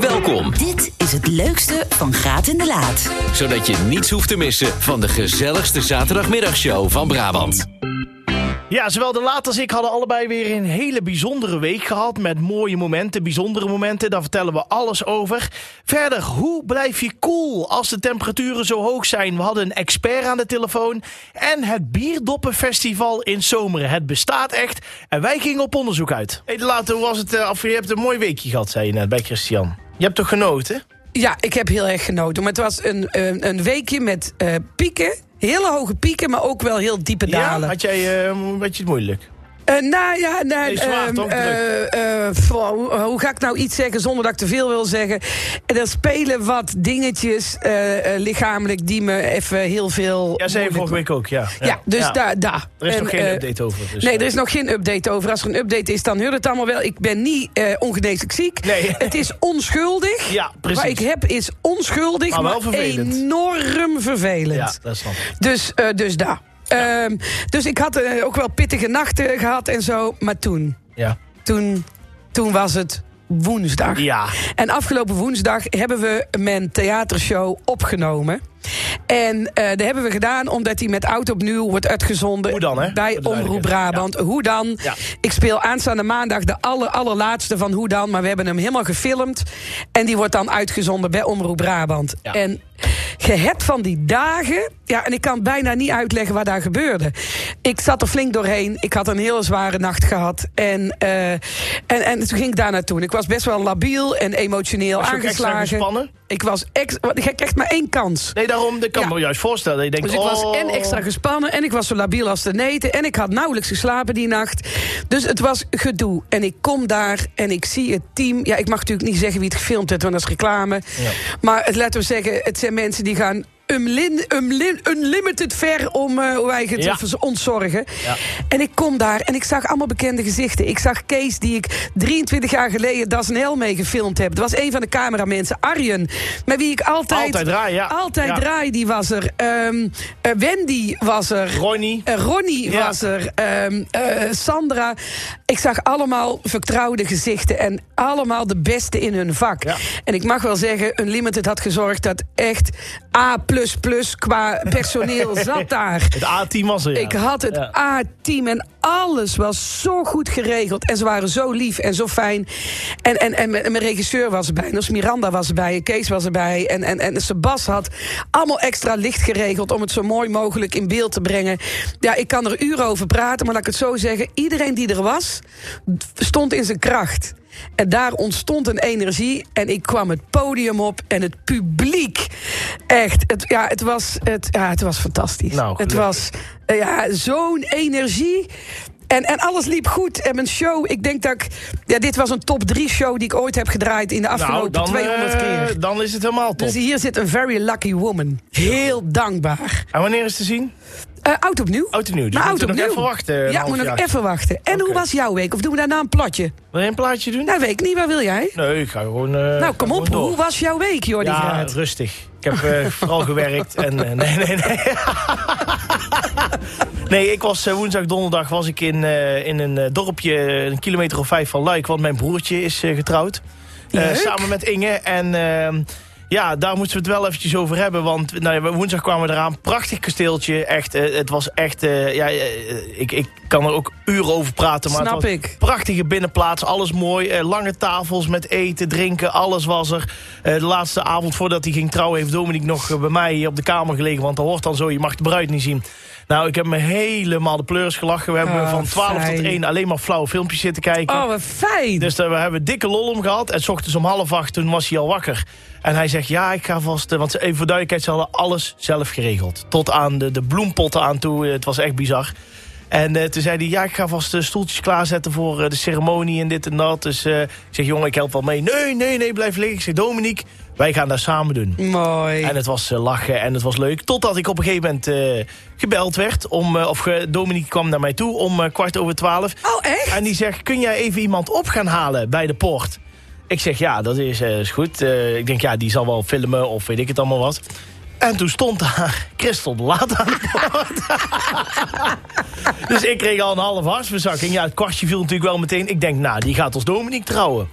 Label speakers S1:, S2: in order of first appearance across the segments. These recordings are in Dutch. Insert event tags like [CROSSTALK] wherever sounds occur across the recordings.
S1: Welkom,
S2: Dit is het leukste van Graat in de Laat.
S1: zodat je niets hoeft te missen van de gezelligste zaterdagmiddagshow van Brabant.
S3: Ja, zowel de laat als ik hadden allebei weer een hele bijzondere week gehad. Met mooie momenten, bijzondere momenten. Daar vertellen we alles over. Verder, hoe blijf je cool als de temperaturen zo hoog zijn? We hadden een expert aan de telefoon. En het Bierdoppenfestival in Zomeren. Het bestaat echt. En wij gingen op onderzoek uit. Hey, de laat, hoe was het? eh, Of je hebt een mooi weekje gehad, zei je net bij Christian. Je hebt toch genoten?
S4: Ja, ik heb heel erg genoten. Maar het was een, een, een weekje met eh, pieken. Hele hoge pieken, maar ook wel heel diepe dalen.
S3: had jij eh, een beetje het moeilijk?
S4: Eh, nou ja, nou,
S3: Nee, zwaar,
S4: ehm,
S3: toch? Druk.
S4: eh, eh, pff, hoe, hoe ga ik nou iets zeggen zonder dat ik te veel wil zeggen? En er spelen wat dingetjes eh, eh, lichamelijk die me even heel veel.
S3: Ja, zei je
S4: moeilijk-
S3: vorige week ook, ja.
S4: Ja, dus daar. daar.
S3: Er is
S4: En,
S3: nog geen
S4: eh,
S3: update over. Dus,
S4: Nee,
S3: eh.
S4: er is nog geen update over. Als er een update is, dan hoort het allemaal wel. Ik ben niet eh ongeneeslijk ziek.
S3: Nee.
S4: Het is onschuldig.
S3: Ja, precies.
S4: Wat ik heb is onschuldig,
S3: Maar
S4: maar,
S3: wel vervelend.
S4: enorm
S3: Ja,
S4: vervelend.
S3: dat snap ik.
S4: Dus, eh, dus daar. Ehm, dus ik had eh, ook wel pittige nachten gehad en zo. Maar toen,
S3: Ja.
S4: toen, toen was het woensdag.
S3: Ja.
S4: En afgelopen woensdag hebben we mijn theatershow opgenomen. En eh, dat hebben we gedaan omdat die met oud opnieuw wordt uitgezonden.
S3: Hoe dan, hè?
S4: Bij
S3: Voor de
S4: Omroep
S3: duidelijkheid.
S4: Brabant. Hoe dan?
S3: Ja.
S4: Ik speel aanstaande maandag de aller, allerlaatste van Hoe dan. Maar we hebben hem helemaal gefilmd. En die wordt dan uitgezonden bij Omroep Brabant.
S3: Ja.
S4: En je hebt van die dagen... Ja, en ik kan bijna niet uitleggen wat daar gebeurde. Ik zat er flink doorheen. Ik had een hele zware nacht gehad. En, eh, en, en toen ging ik daar naartoe. En Ik was best wel labiel en emotioneel
S3: Was je ook extra
S4: aangeslagen.
S3: gespannen?
S4: Ik was ex want je krijgt maar één kans.
S3: Nee, daarom, dat kan
S4: Ja.
S3: me juist voorstellen. Ik denk,
S4: Dus ik was
S3: oh,
S4: en extra gespannen en ik was zo labiel als de neten. En ik had nauwelijks geslapen die nacht. Dus het was gedoe. En ik kom daar en ik zie het team. Ja, ik mag natuurlijk niet zeggen wie het gefilmd heeft, want dat is reclame. Maar het, laten we zeggen, het zijn mensen die gaan umlin, umlin, unlimited ver om eh, hoe wij het
S3: Ja.
S4: voor ze ons zorgen.
S3: Ja.
S4: En ik kom daar en ik zag allemaal bekende gezichten. Ik zag Kees, die ik 23 jaar geleden Das en Hel mee gefilmd heb. Dat was een van de cameramensen. Arjen, met wie ik altijd...
S3: Altijd draaien, ja.
S4: Altijd
S3: Ja.
S4: Draai, die was er. Ehm, eh, Wendy was er.
S3: Ronnie.
S4: Eh, Ronnie
S3: Ja.
S4: was er. Ehm, eh, Sandra. Ik zag allemaal vertrouwde gezichten. En allemaal de beste in hun vak.
S3: Ja.
S4: En ik mag wel zeggen, Unlimited had gezorgd dat echt A qua personeel
S3: [LAUGHS]
S4: zat daar.
S3: Het A-team was er, ja.
S4: Ik had het
S3: Ja.
S4: A-team en alles was zo goed geregeld. En ze waren zo lief en zo fijn. En, en, en mijn en mijn regisseur was erbij. Dus Miranda was erbij. en Kees was erbij. En, en, en Sebas had allemaal extra licht geregeld... om het zo mooi mogelijk in beeld te brengen. Ja, ik kan er uren over praten, maar laat ik het zo zeggen. Iedereen die er was, stond in zijn kracht. En daar ontstond een energie. En ik kwam het podium op en het publiek. Echt, het, ja, het, was, het, ja, het was fantastisch.
S3: Nou,
S4: het
S3: gelukkig.
S4: was eh, ja, zo'n energie. En, en alles liep goed. En mijn show, ik denk dat ik... Ja, dit was een top 3 show die ik ooit heb gedraaid... in de
S3: nou,
S4: afgelopen
S3: dan,
S4: 200
S3: eh,
S4: keer.
S3: dan is het helemaal top.
S4: Dus hier zit een very lucky woman. Heel dankbaar.
S3: En wanneer is het te zien?
S4: Eh oud opnieuw.
S3: Oud en nieuw. Dus
S4: maar Nou,
S3: moeten
S4: oud
S3: we
S4: opnieuw.
S3: nog even wachten. eh, een
S4: ja,
S3: half
S4: we nog
S3: jaartje.
S4: even wachten. En hoe
S3: Oké.
S4: was jouw week? Of doen we daarna een platje?
S3: Wil je een plaatje doen?
S4: Nou, weet ik niet. Wat wil jij?
S3: Nee, ik ga gewoon... eh,
S4: nou,
S3: ga
S4: kom
S3: gewoon
S4: op.
S3: door.
S4: Hoe was jouw week, Jordi
S3: Ja,
S4: Graat?
S3: rustig. Ik heb eh, [LAUGHS] vooral gewerkt en... eh, nee, nee, nee. [LAUGHS] nee, ik was eh, woensdag, donderdag was ik in, eh, in een eh, dorpje een kilometer of vijf van Luik. Want mijn broertje is eh, getrouwd. Eh,
S4: Leuk.
S3: samen met Inge. En ehm, ja, daar moesten we het wel eventjes over hebben. Want nou, ja, woensdag kwamen we eraan. Prachtig kasteeltje. Echt, eh, het was echt... eh, ja, eh, ik, ik kan er ook uren over praten. Maar het
S4: Snap
S3: was
S4: ik.
S3: Prachtige binnenplaats, alles mooi. Eh, lange tafels met eten, drinken, alles was er. Eh, de laatste avond voordat hij ging trouwen... heeft Dominique nog eh, bij mij hier op de kamer gelegen. Want dat hoort dan zo, je mag de bruid niet zien. Nou, ik heb me helemaal de pleurs gelachen. We hebben
S4: Ah,
S3: van 12 tot
S4: fijn.
S3: 1 alleen maar flauwe filmpjes zitten kijken.
S4: Oh, wat fijn.
S3: Dus daar we hebben dikke lol om gehad. En s ochtends om half acht, toen was hij al wakker. En hij zegt, ja, ik ga vast... eh, Want ze- even voor duidelijkheid, ze hadden alles zelf geregeld. Tot aan de, de bloempotten aan toe. Eh, Het was echt bizar. En eh, toen zei hij, ja, ik ga vast de stoeltjes klaarzetten voor eh, de ceremonie en dit en dat. Dus eh, ik zeg, jongen, ik help wel mee. Nee, nee, nee, blijf liggen. Ik zeg, Dominique, wij gaan daar samen doen.
S4: Mooi.
S3: En het was eh, lachen en het was leuk. Totdat ik op een gegeven moment eh, gebeld werd. Om, eh, of eh, Dominique kwam naar mij toe om eh, kwart over twaalf.
S4: Oh,
S3: [LAUGHS]
S4: echt?
S3: En die zegt, kun jij even iemand op gaan halen bij de poort? Ik zeg, ja, dat is, eh, is goed. Eh, ik denk, ja, die zal wel filmen of weet ik het allemaal wat. En toen stond daar [LAUGHS] Christel de Laat aan de poort. dus ik kreeg al een half hartsverzakking. Ja, het kwartje viel natuurlijk wel meteen. Ik denk, nou, die gaat als Dominique trouwen.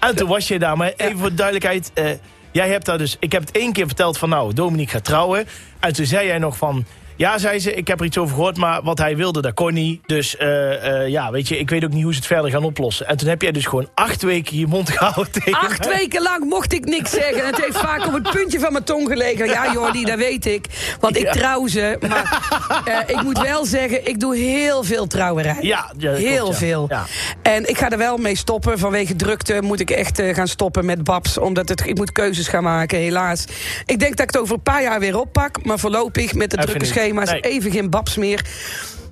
S3: En toen was je daar. Maar even voor de duidelijkheid. eh, jij hebt daar dus... Ik heb het één keer verteld van nou, Dominique gaat trouwen. En toen zei jij nog van... Ja, zei ze, ik heb er iets over gehoord, maar wat hij wilde, dat kon niet. Dus eh, eh, ja, weet je, ik weet ook niet hoe ze het verder gaan oplossen. En toen heb jij dus gewoon acht weken je mond [LAUGHS] gehouden tegen
S4: Acht
S3: mij.
S4: weken lang mocht ik niks zeggen. En het heeft vaak op het puntje van mijn tong gelegen. Ja, Jordi, dat weet ik. Want ik
S3: Ja.
S4: trouw ze.
S3: [LAUGHS]
S4: Maar eh, ik moet wel zeggen, ik doe heel veel trouwerij.
S3: Ja, ja, dat
S4: heel
S3: klopt, ja.
S4: veel.
S3: Ja.
S4: En ik ga er wel mee stoppen. Vanwege drukte moet ik echt eh, gaan stoppen met babs. Omdat het, ik moet keuzes gaan maken, helaas. Ik denk dat ik het over een paar jaar weer oppak. Maar voorlopig met de
S3: Even
S4: drukke
S3: niet.
S4: schema's
S3: Nee.
S4: even geen babs meer.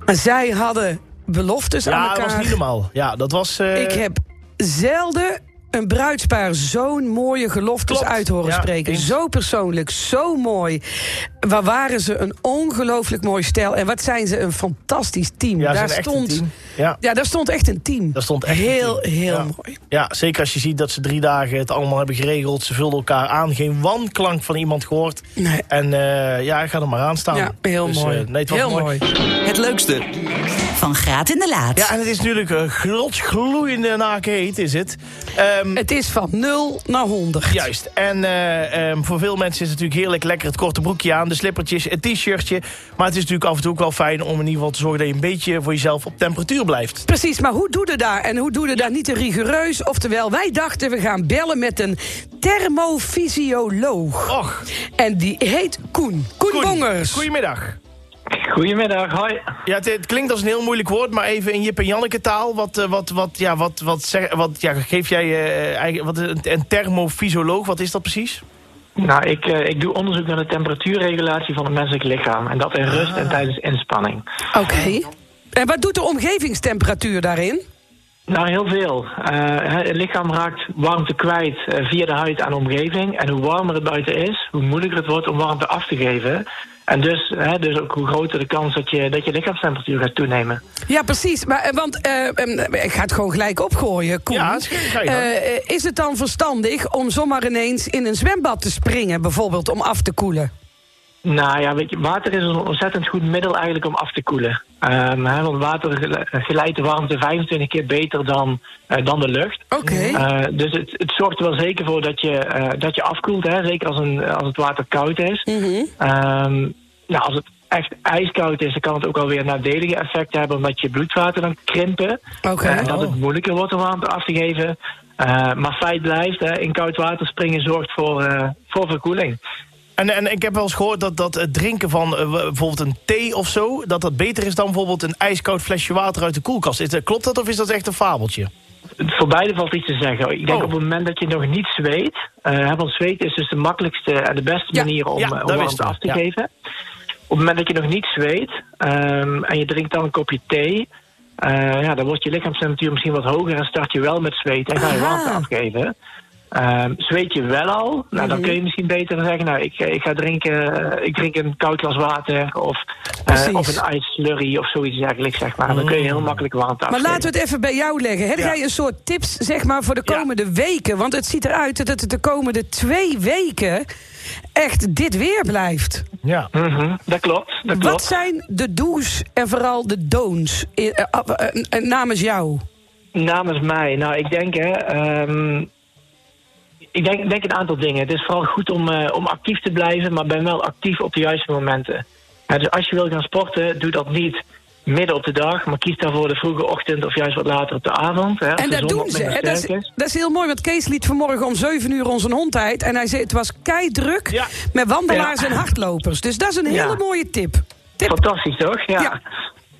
S4: Maar zij hadden beloftes aan
S3: Ja,
S4: elkaar.
S3: dat was niet normaal. Ja, dat was... eh,
S4: Ik heb zelden een bruidspaar zo'n mooie geloftes
S3: Klopt.
S4: uit horen
S3: Ja,
S4: spreken.
S3: eens.
S4: Zo persoonlijk, zo mooi. Waar waren ze een ongelooflijk mooi stijl. En wat zijn ze een fantastisch team.
S3: ja, ze
S4: daar
S3: zijn echt een
S4: stond,
S3: team. Ja,
S4: Ja, daar stond echt een team.
S3: daar stond echt een
S4: heel,
S3: team.
S4: heel
S3: Ja.
S4: mooi.
S3: Ja, zeker als je ziet dat ze drie dagen het allemaal hebben geregeld. Ze vulden elkaar aan. Geen wanklank van iemand gehoord.
S4: Nee.
S3: En eh, ja, ga er maar aan staan.
S4: Ja, heel
S3: Dus,
S4: mooi.
S3: eh, nee, het was
S4: heel
S3: mooi.
S1: Het leukste,
S2: Van Graat in de Laat.
S3: Ja, en het is natuurlijk een gloeiende nakeet, is het. Ehm,
S4: Het is van 0 naar 100.
S3: Juist. En eh, ehm, voor veel mensen is het natuurlijk heerlijk lekker het korte broekje aan, de slippertjes, het t-shirtje. Maar het is natuurlijk af en toe ook wel fijn om in ieder geval te zorgen dat je een beetje voor jezelf op temperatuur blijft.
S4: Precies, maar hoe doe je daar? En hoe doe je daar niet te rigoureus? Oftewel, wij dachten we gaan bellen met een thermofysioloog.
S3: Och,
S4: En die heet Koen. Koen,
S3: Oh. Koen,
S4: Bongers.
S3: Goedemiddag.
S5: Goedemiddag, hoi.
S3: Ja, het, het klinkt als een heel moeilijk woord, maar even in Jip en Janneke taal. Wat, eh, wat, wat, ja, wat, wat, zeg, wat ja, geef jij eh, eigenlijk, wat, een, een thermofysioloog, wat is dat precies?
S5: Nou, ik, eh, ik doe onderzoek naar de temperatuurregulatie van het menselijk lichaam. En dat in rust en tijdens inspanning.
S4: Oké. En wat doet de omgevingstemperatuur daarin?
S5: Nou, heel veel. Eh, hè, het lichaam raakt warmte kwijt eh, via de huid aan de omgeving. En hoe warmer het buiten is, hoe moeilijker het wordt om warmte af te geven. En dus, hè, dus ook hoe groter de kans dat je, dat je lichaamstemperatuur gaat toenemen.
S4: Ja, precies. Maar, eh, want eh, em, ik ga het gewoon gelijk opgooien, Koen.
S3: Ja, is- ga je gang.
S4: Eh, eh, is het dan verstandig om zomaar ineens in een zwembad te springen, bijvoorbeeld, om af te koelen?
S5: Nou ja, weet je, water is een ontzettend goed middel eigenlijk om af te koelen. Ehm, hè, want water gele- geleidt de warmte 25 keer beter dan, eh, dan de lucht.
S4: Oké.
S5: Eh, dus het, het zorgt er wel zeker voor dat je, eh, dat je afkoelt, hè? zeker als, een, als het water koud is.
S4: Mhm.
S5: Ehm, nou, als het echt ijskoud is, dan kan het ook alweer nadelige effecten hebben, omdat je bloedvaten dan krimpen.
S4: Oké.
S5: Eh, en dat
S3: Oh.
S5: het moeilijker wordt om warmte af te geven. Eh, maar feit blijft, hè, in koud water springen zorgt voor, eh, voor verkoeling.
S3: En, en ik heb wel eens gehoord dat, dat het drinken van eh, bijvoorbeeld een thee of zo... dat dat beter is dan bijvoorbeeld een ijskoud flesje water uit de koelkast. Is dat, klopt dat of is dat echt een fabeltje?
S5: Voor beide valt iets te zeggen. Ik denk
S3: Oh.
S5: op het moment dat je nog niet zweet. eh, hè, want zweet is dus de makkelijkste en de beste
S4: Ja,
S5: manier om,
S3: ja,
S5: eh, om
S3: dat wist
S5: warmte
S3: ik,
S5: af te
S3: ja.
S5: geven. Op het moment dat je nog niet zweet ehm, en je drinkt dan een kopje thee. eh, ja, dan wordt je lichaamstemperatuur misschien wat hoger en start je wel met zweet en ga je
S4: Aha.
S5: warmte afgeven. Ehm, zweet je wel al, nou, dan
S4: Mhm.
S5: kun je misschien beter zeggen, nou, ik, eh, ik ga drinken, eh, ik drink een koud glas water of, eh,
S4: Precies. Mm.
S5: of een ijs slurry of zoiets eigenlijk, zeg maar. Dan kun je heel makkelijk warmte
S4: Maar
S5: afgeven.
S4: laten we het even bij jou leggen. Heb
S3: Ja.
S4: jij een soort tips zeg maar, voor de
S3: Ja.
S4: komende weken? Want het ziet eruit dat het de komende twee weken echt dit weer blijft.
S3: Ja.
S5: Mhm, dat klopt, dat klopt.
S4: Wat zijn de do's en vooral de don'ts eh, eh, af- eh, eh, namens jou?
S5: Namens mij. Nou, ik denk hè. ehm, ik denk, denk een aantal dingen. Het is vooral goed om, eh, om actief te blijven, maar ben wel actief op de juiste momenten. Ja, dus als je wil gaan sporten, doe dat niet midden op de dag, maar kies daarvoor de vroege ochtend of juist wat later op de avond. Hè, als
S4: En
S5: de
S4: dat
S5: zon
S4: doen
S5: wat
S4: ze.
S5: minder
S4: hè. Dat is,
S5: sterk is.
S4: dat is heel mooi, want Kees liet vanmorgen om 7 uur onze hond uit. En hij zei, het was keidruk
S3: Ja.
S4: met wandelaars
S5: Ja.
S4: en hardlopers. Dus dat is een
S5: Ja.
S4: hele mooie tip. tip.
S5: Fantastisch, toch? Ja.
S4: Ja.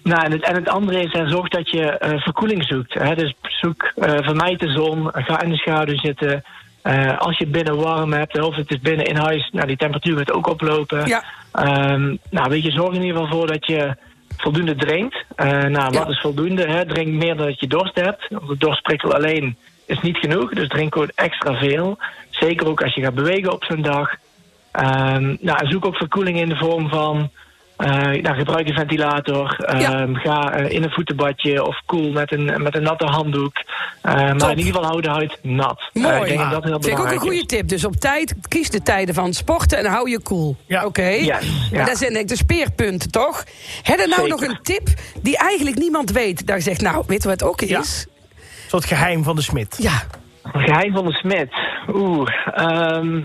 S5: Nou, en, het, en het andere is, hè, zorg dat je eh, verkoeling zoekt. Hè? Dus zoek, eh, vermijd de zon, ga in de schaduw zitten. Eh, als je het binnen warm hebt, hè, of het is binnen in huis, nou, die temperatuur gaat ook oplopen.
S4: Ja.
S5: Ehm, nou, weet je, zorg in ieder geval voor dat je voldoende drinkt. Eh, nou, wat
S4: Ja.
S5: is voldoende? Hè? Drink meer dan dat je dorst hebt. Want de dorstprikkel alleen is niet genoeg, dus drink gewoon extra veel. Zeker ook als je gaat bewegen op zo'n dag. Ehm, nou, en zoek ook verkoeling in de vorm van... eh, nou, gebruik een ventilator.
S4: Ja.
S5: ehm, Ga eh, in een voetenbadje of koel met een, met een natte handdoek. Eh, maar in ieder geval hou de huid nat. Eh,
S4: Mooi.
S5: ik denk dat dat
S4: Vind
S5: heel
S4: ik ook een
S5: belangrijk
S4: goede
S5: is.
S4: tip. Dus op tijd, kies de tijden van sporten en hou je cool.
S3: Ja.
S4: Oké?
S5: Ja, ja.
S4: En dat zijn denk ik de speerpunten, toch? Heb je nou
S5: Zeker.
S4: nog een tip die eigenlijk niemand weet? Daar zegt, nou, weet je wat het ook is?
S3: Een soort geheim van de smid.
S4: Ja.
S5: Een geheim van de smid. Oeh. ehm,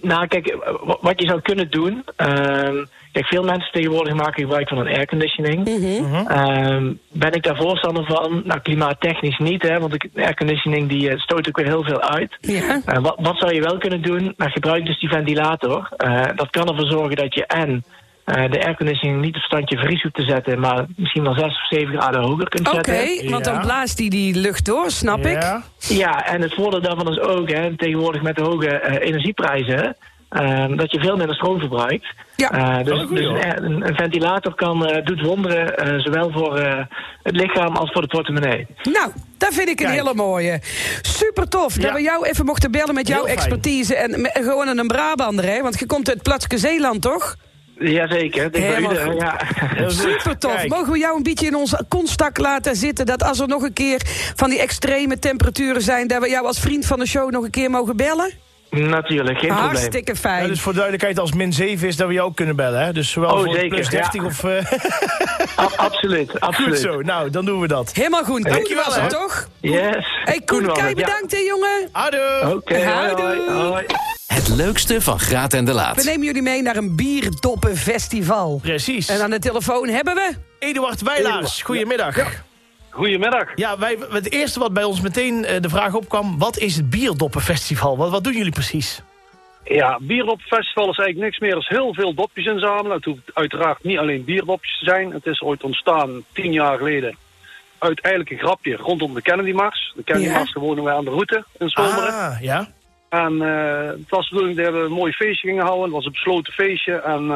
S5: nou, kijk, w- wat je zou kunnen doen. ehm, kijk, veel mensen tegenwoordig maken gebruik van een airconditioning. Ehm, ben ik daar voorstander van? Nou, klimaattechnisch niet, hè, want de airconditioning die eh, stoot ook weer heel veel uit.
S4: Ja.
S5: Eh, wat, wat zou je wel kunnen doen? Nou, gebruik dus die ventilator. Eh, dat kan ervoor zorgen dat je en eh, de airconditioning niet op standje vries hoeft te zetten, maar misschien wel 6 of 7 graden hoger kunt
S4: Oké,
S5: zetten.
S4: want
S3: Ja.
S4: dan blaast die die lucht door, snap ik.
S3: Ja.
S5: Ja, en het voordeel daarvan is ook, hè, tegenwoordig met de hoge eh, energieprijzen, ehm, dat je veel minder stroom verbruikt.
S4: Ja.
S5: Eh,
S3: Dat is
S5: dus
S3: een goeie,
S5: dus
S3: hoor.
S5: een, een- een ventilator kan, eh, doet wonderen, eh, zowel voor eh, het lichaam als voor de portemonnee.
S4: Nou, dat vind ik een
S3: Kijk.
S4: hele mooie. Super tof dat
S3: Ja.
S4: we jou even mochten bellen met jouw
S3: Heel fijn.
S4: expertise. En me- gewoon een Brabander, hè? Want je komt uit Platske Zeeland, toch?
S5: Jazeker, ik denk bij
S4: Helemaal
S5: iedereen,
S4: goed.
S5: ja. [LAUGHS]
S3: Heel goed.
S4: Super tof.
S3: Kijk.
S4: Mogen we jou een beetje in ons constak laten zitten? Dat als er nog een keer van die extreme temperaturen zijn, dat we jou als vriend van de show nog een keer mogen bellen?
S5: Natuurlijk, geen probleem.
S4: Hartstikke
S3: Ja,
S4: fijn.
S3: dus voor duidelijkheid, als min 7 is, dat we jou ook kunnen bellen. Hè? Dus zowel
S5: Oh,
S3: voor
S5: zeker,
S3: plus 30
S5: ja.
S3: of... eh, [LAUGHS]
S5: A- absoluut,
S3: goed
S5: absoluut.
S3: zo, nou, dan doen we dat.
S4: Helemaal goed. Koen
S3: Dankjewel,
S4: was het,
S3: hè.
S4: toch?
S5: Yes.
S4: Hey, Koen,
S5: was
S4: kei
S5: het, ja.
S4: bedankt, hè, jongen.
S3: Adieu!
S5: Oké, hoi, hoi,
S4: Houdoe.
S5: hoi.
S1: Het leukste van Graat en de
S4: We
S1: Laat.
S4: nemen jullie mee naar een bierdoppenfestival.
S3: Precies.
S4: En aan de telefoon hebben we...
S3: Eduard Wijlaars, goedemiddag. Ja.
S6: Goedemiddag.
S3: wij, het eerste wat bij ons meteen eh, de vraag opkwam... wat is het Bierdoppenfestival? Wat, wat doen jullie precies?
S6: Ja, bierdopfestival is eigenlijk niks meer dan heel veel dopjes inzamelen. Het hoeft uiteraard niet alleen bierdopjes te zijn. Het is ooit ontstaan tien jaar geleden uit eigenlijk een grapje rondom de Kennedy Mars. De Kennedy
S4: Ja.
S6: Mars, daar wonen wij aan de route in Zomeren.
S3: ja.
S6: En eh, het was de bedoeling dat we een mooi feestje gingen houden. Het was een besloten feestje. En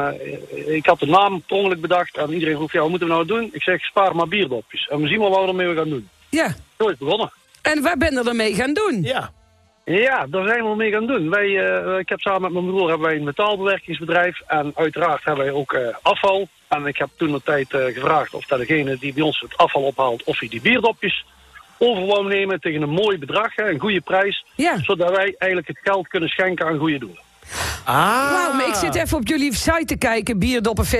S6: eh, ik had de naam per ongeluk bedacht. En iedereen vroeg, ja, wat moeten we nou doen? Ik zeg, spaar maar bierdopjes. En we zien wel wat we ermee gaan doen.
S4: Ja,
S6: Zo is het begonnen.
S4: en wat ben je ermee gaan doen?
S3: Ja.
S6: Ja, daar zijn we wel mee gaan doen. Wij, eh, ik heb samen met mijn broer hebben wij een metaalbewerkingsbedrijf. En uiteraard hebben wij ook eh, afval. En ik heb toen de tijd eh, gevraagd of dat degene die bij ons het afval ophaalt... of hij die bierdopjes over wou nemen tegen een mooi bedrag, hè, een goede prijs.
S4: Ja.
S6: Zodat wij eigenlijk het geld kunnen schenken aan goede doelen.
S3: Ah.
S4: Wauw, maar ik zit even op jullie site te kijken,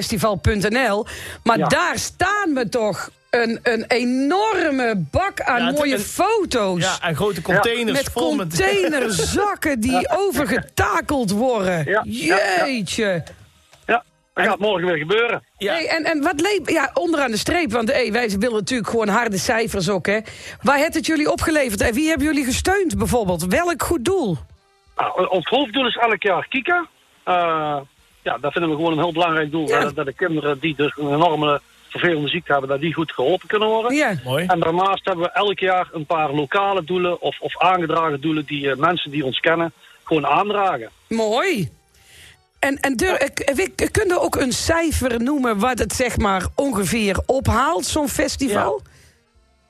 S4: bierdoppenfestival.nl. Maar
S6: Ja.
S4: daar staan we toch een, een enorme bak aan
S3: Ja, het-
S4: mooie
S3: een-
S4: foto's.
S3: Ja, en grote containers
S4: met
S3: vol met...
S4: containerzakken die overgetakeld worden.
S6: Ja, ja, ja.
S4: Jeetje.
S6: Ja, dat gaat morgen weer gebeuren.
S3: Ja.
S4: Hey, en, en wat leep... Ja, onderaan de streep, want hey, wij willen natuurlijk gewoon harde cijfers ook, hè. Waar heeft het jullie opgeleverd en wie hebben jullie gesteund bijvoorbeeld? Welk goed doel?
S6: Nou, ons hoofddoel is elk jaar Kika. Eh, ja, dat vinden we gewoon een heel belangrijk doel.
S4: Ja.
S6: Dat, dat de kinderen die dus een enorme vervelende ziekte hebben... dat die goed geholpen kunnen worden.
S4: Ja.
S3: [LAUGHS] Mooi.
S6: En daarnaast hebben we elk jaar een paar lokale doelen of, of aangedragen doelen die eh, mensen die ons kennen gewoon aandragen.
S4: Mooi. En, en dur, eh, k- we- k- kun je ook een cijfer noemen wat het zeg maar ongeveer ophaalt, zo'n festival?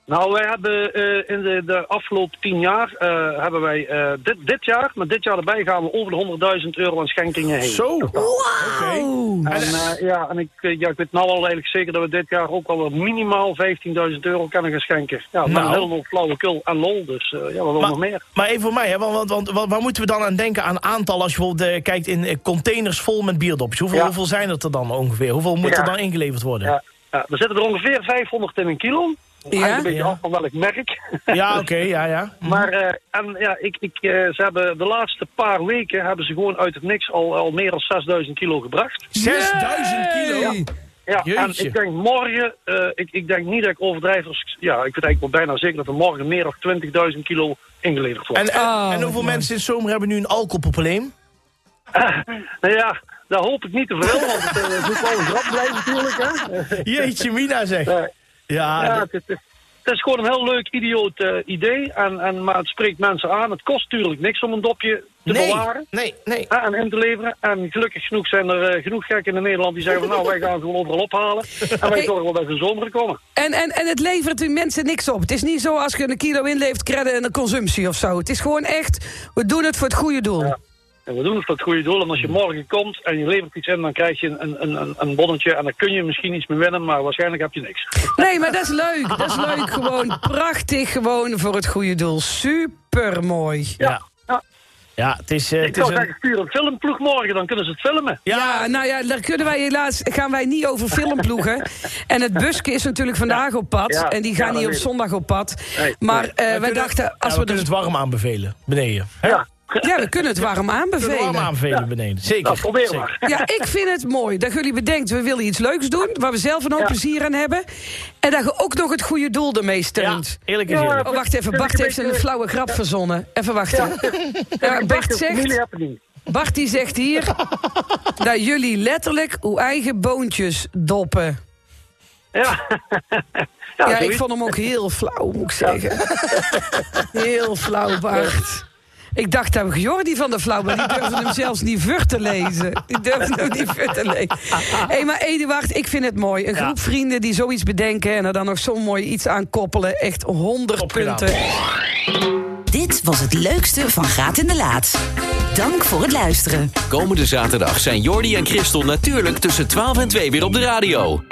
S6: Nou, wij hebben eh, in de, de afgelopen tien jaar, eh, hebben wij eh, dit, dit jaar, maar dit jaar erbij gaan we over de 100.000 euro aan schenkingen heen.
S3: Zo.
S4: Wauw!
S6: En, eh, ja, en ik, eh, ja, ik weet nou al eigenlijk zeker dat we dit jaar ook al minimaal 15.000 euro kunnen gaan schenken. Ja, maar
S3: Nou.
S6: een helemaal flauwekul en lol, dus eh, ja, we willen nog meer.
S3: maar even voor mij, hè, want, want, want wat- waar moeten we dan aan denken aan aantal... als je bijvoorbeeld eh, kijkt in eh, containers vol met bierdopjes? Hoeveel,
S6: Ja.
S3: hoeveel zijn het er dan ongeveer? Hoeveel moet er
S6: Ja.
S3: dan ingeleverd worden?
S6: Ja, ja, er zitten er ongeveer 500 in een kilo. Hangt een beetje
S3: Ja.
S6: af van welk merk. [LAUGHS]
S3: Ja, oké, ja, ja.
S6: Maar eh, en, ja, ik, ik, eh, ze hebben de laatste paar weken hebben ze gewoon uit het niks al, al meer dan 6000 kilo gebracht.
S3: 6000 kilo.
S4: Hey.
S6: Ja,
S3: Jeetje.
S6: en ik denk morgen, eh, ik, ik denk niet dat ik overdrijf. Als, ik- ja, ik weet eigenlijk wel bijna zeker dat er morgen meer dan 20.000 kilo ingeleverd wordt.
S3: En, en,
S4: Oh,
S3: en hoeveel
S4: mooi.
S3: mensen in zomer hebben nu een alcoholprobleem?
S6: Nou ja, daar hoop ik niet te veel, want het eh, moet wel een grap blijven natuurlijk. Hè?
S3: [LAUGHS] Jeetje, Mina zeg.
S6: Eh,
S3: [LAUGHS] Ja,
S6: ja,
S3: d-
S6: het, het- het is gewoon een heel leuk, idioot eh, idee. En, en, maar het spreekt mensen aan. Het kost natuurlijk niks om een dopje te Ah,
S3: nee,
S6: bewaren.
S3: nee, nee.
S6: hè, eh, aan hem te leveren. En gelukkig genoeg zijn er eh, genoeg gekken in Nederland die zeggen van nou wij gaan het gewoon overal ophalen. En wij
S4: Hey.
S6: zorgen wel dat ze zomer komen.
S4: En, en, en het levert de mensen niks op. Het is niet zo als je een kilo inleeft, credden en de consumptie of zo. Het is gewoon echt, we doen het voor het goede doel.
S6: Ja. En we doen het voor het goede doel. En als
S4: Mm.
S6: je morgen komt en je levert iets in, dan krijg je een, een, een, een bonnetje. En dan kun je misschien iets meer winnen, maar waarschijnlijk heb je niks.
S4: Nee, maar dat is leuk. Dat is leuk. Gewoon prachtig, gewoon voor het goede doel. Supermooi.
S3: Ja.
S6: Ja.
S3: Ja, het is, eh,
S6: Ik
S3: het is
S6: zou
S3: een...
S6: zeggen, stuur een filmploeg morgen, dan kunnen ze het filmen.
S4: Ja. nou ja, daar kunnen wij helaas, gaan wij niet over filmploegen. en het busken is natuurlijk vandaag op pad.
S6: Ja,
S4: En die gaan
S6: ja, dat
S4: niet op
S6: weet ik.
S4: zondag op pad.
S6: Nee,
S4: maar
S6: nee.
S4: eh, wij
S3: kunnen-
S4: dachten, als
S3: ja, we
S4: we, dus
S3: kunnen
S4: er
S3: het warm aanbevelen, beneden. Hè?
S6: Ja.
S4: Ja, we kunnen het warm
S3: We kunnen
S4: aanbevelen.
S3: warm aanbevelen, beneden. Zeker.
S6: Nou, probeer
S3: zeker.
S6: maar.
S4: Ja, ik vind het mooi dat jullie bedenkt, we willen iets leuks doen, waar we zelf een hoop
S6: Ja.
S4: plezier aan hebben. En dat je ook nog het goede doel ermee
S3: Ja,
S4: steunt.
S3: eerlijk is eerlijk.
S4: Oh, wacht even, Bart heeft een flauwe grap verzonnen. Even wachten. Ja, Bart
S6: Familie
S4: zegt,
S6: happening.
S4: Bart die zegt hier dat jullie letterlijk uw eigen boontjes doppen. [LAUGHS]
S6: Ja. ja,
S4: Ja, ik
S6: zoiets.
S4: vond hem ook heel flauw, moet ik zeggen. [LAUGHS] Heel flauw, Bart. Ik dacht dat we Jordi van der Flauw, maar die durfde hem zelfs niet vur te lezen. Die durfde hem niet vur te lezen. Hé, maar Eduard, ik vind het mooi. Een
S3: Ja.
S4: groep vrienden die zoiets bedenken en er dan nog zo mooi iets aan koppelen. Echt 100
S3: Top gedaan.
S4: punten.
S2: Dit was het leukste van Graat in de Laat. Dank voor het luisteren.
S1: Komende zaterdag zijn Jordi en Christel natuurlijk tussen 12 en 2 weer op de radio.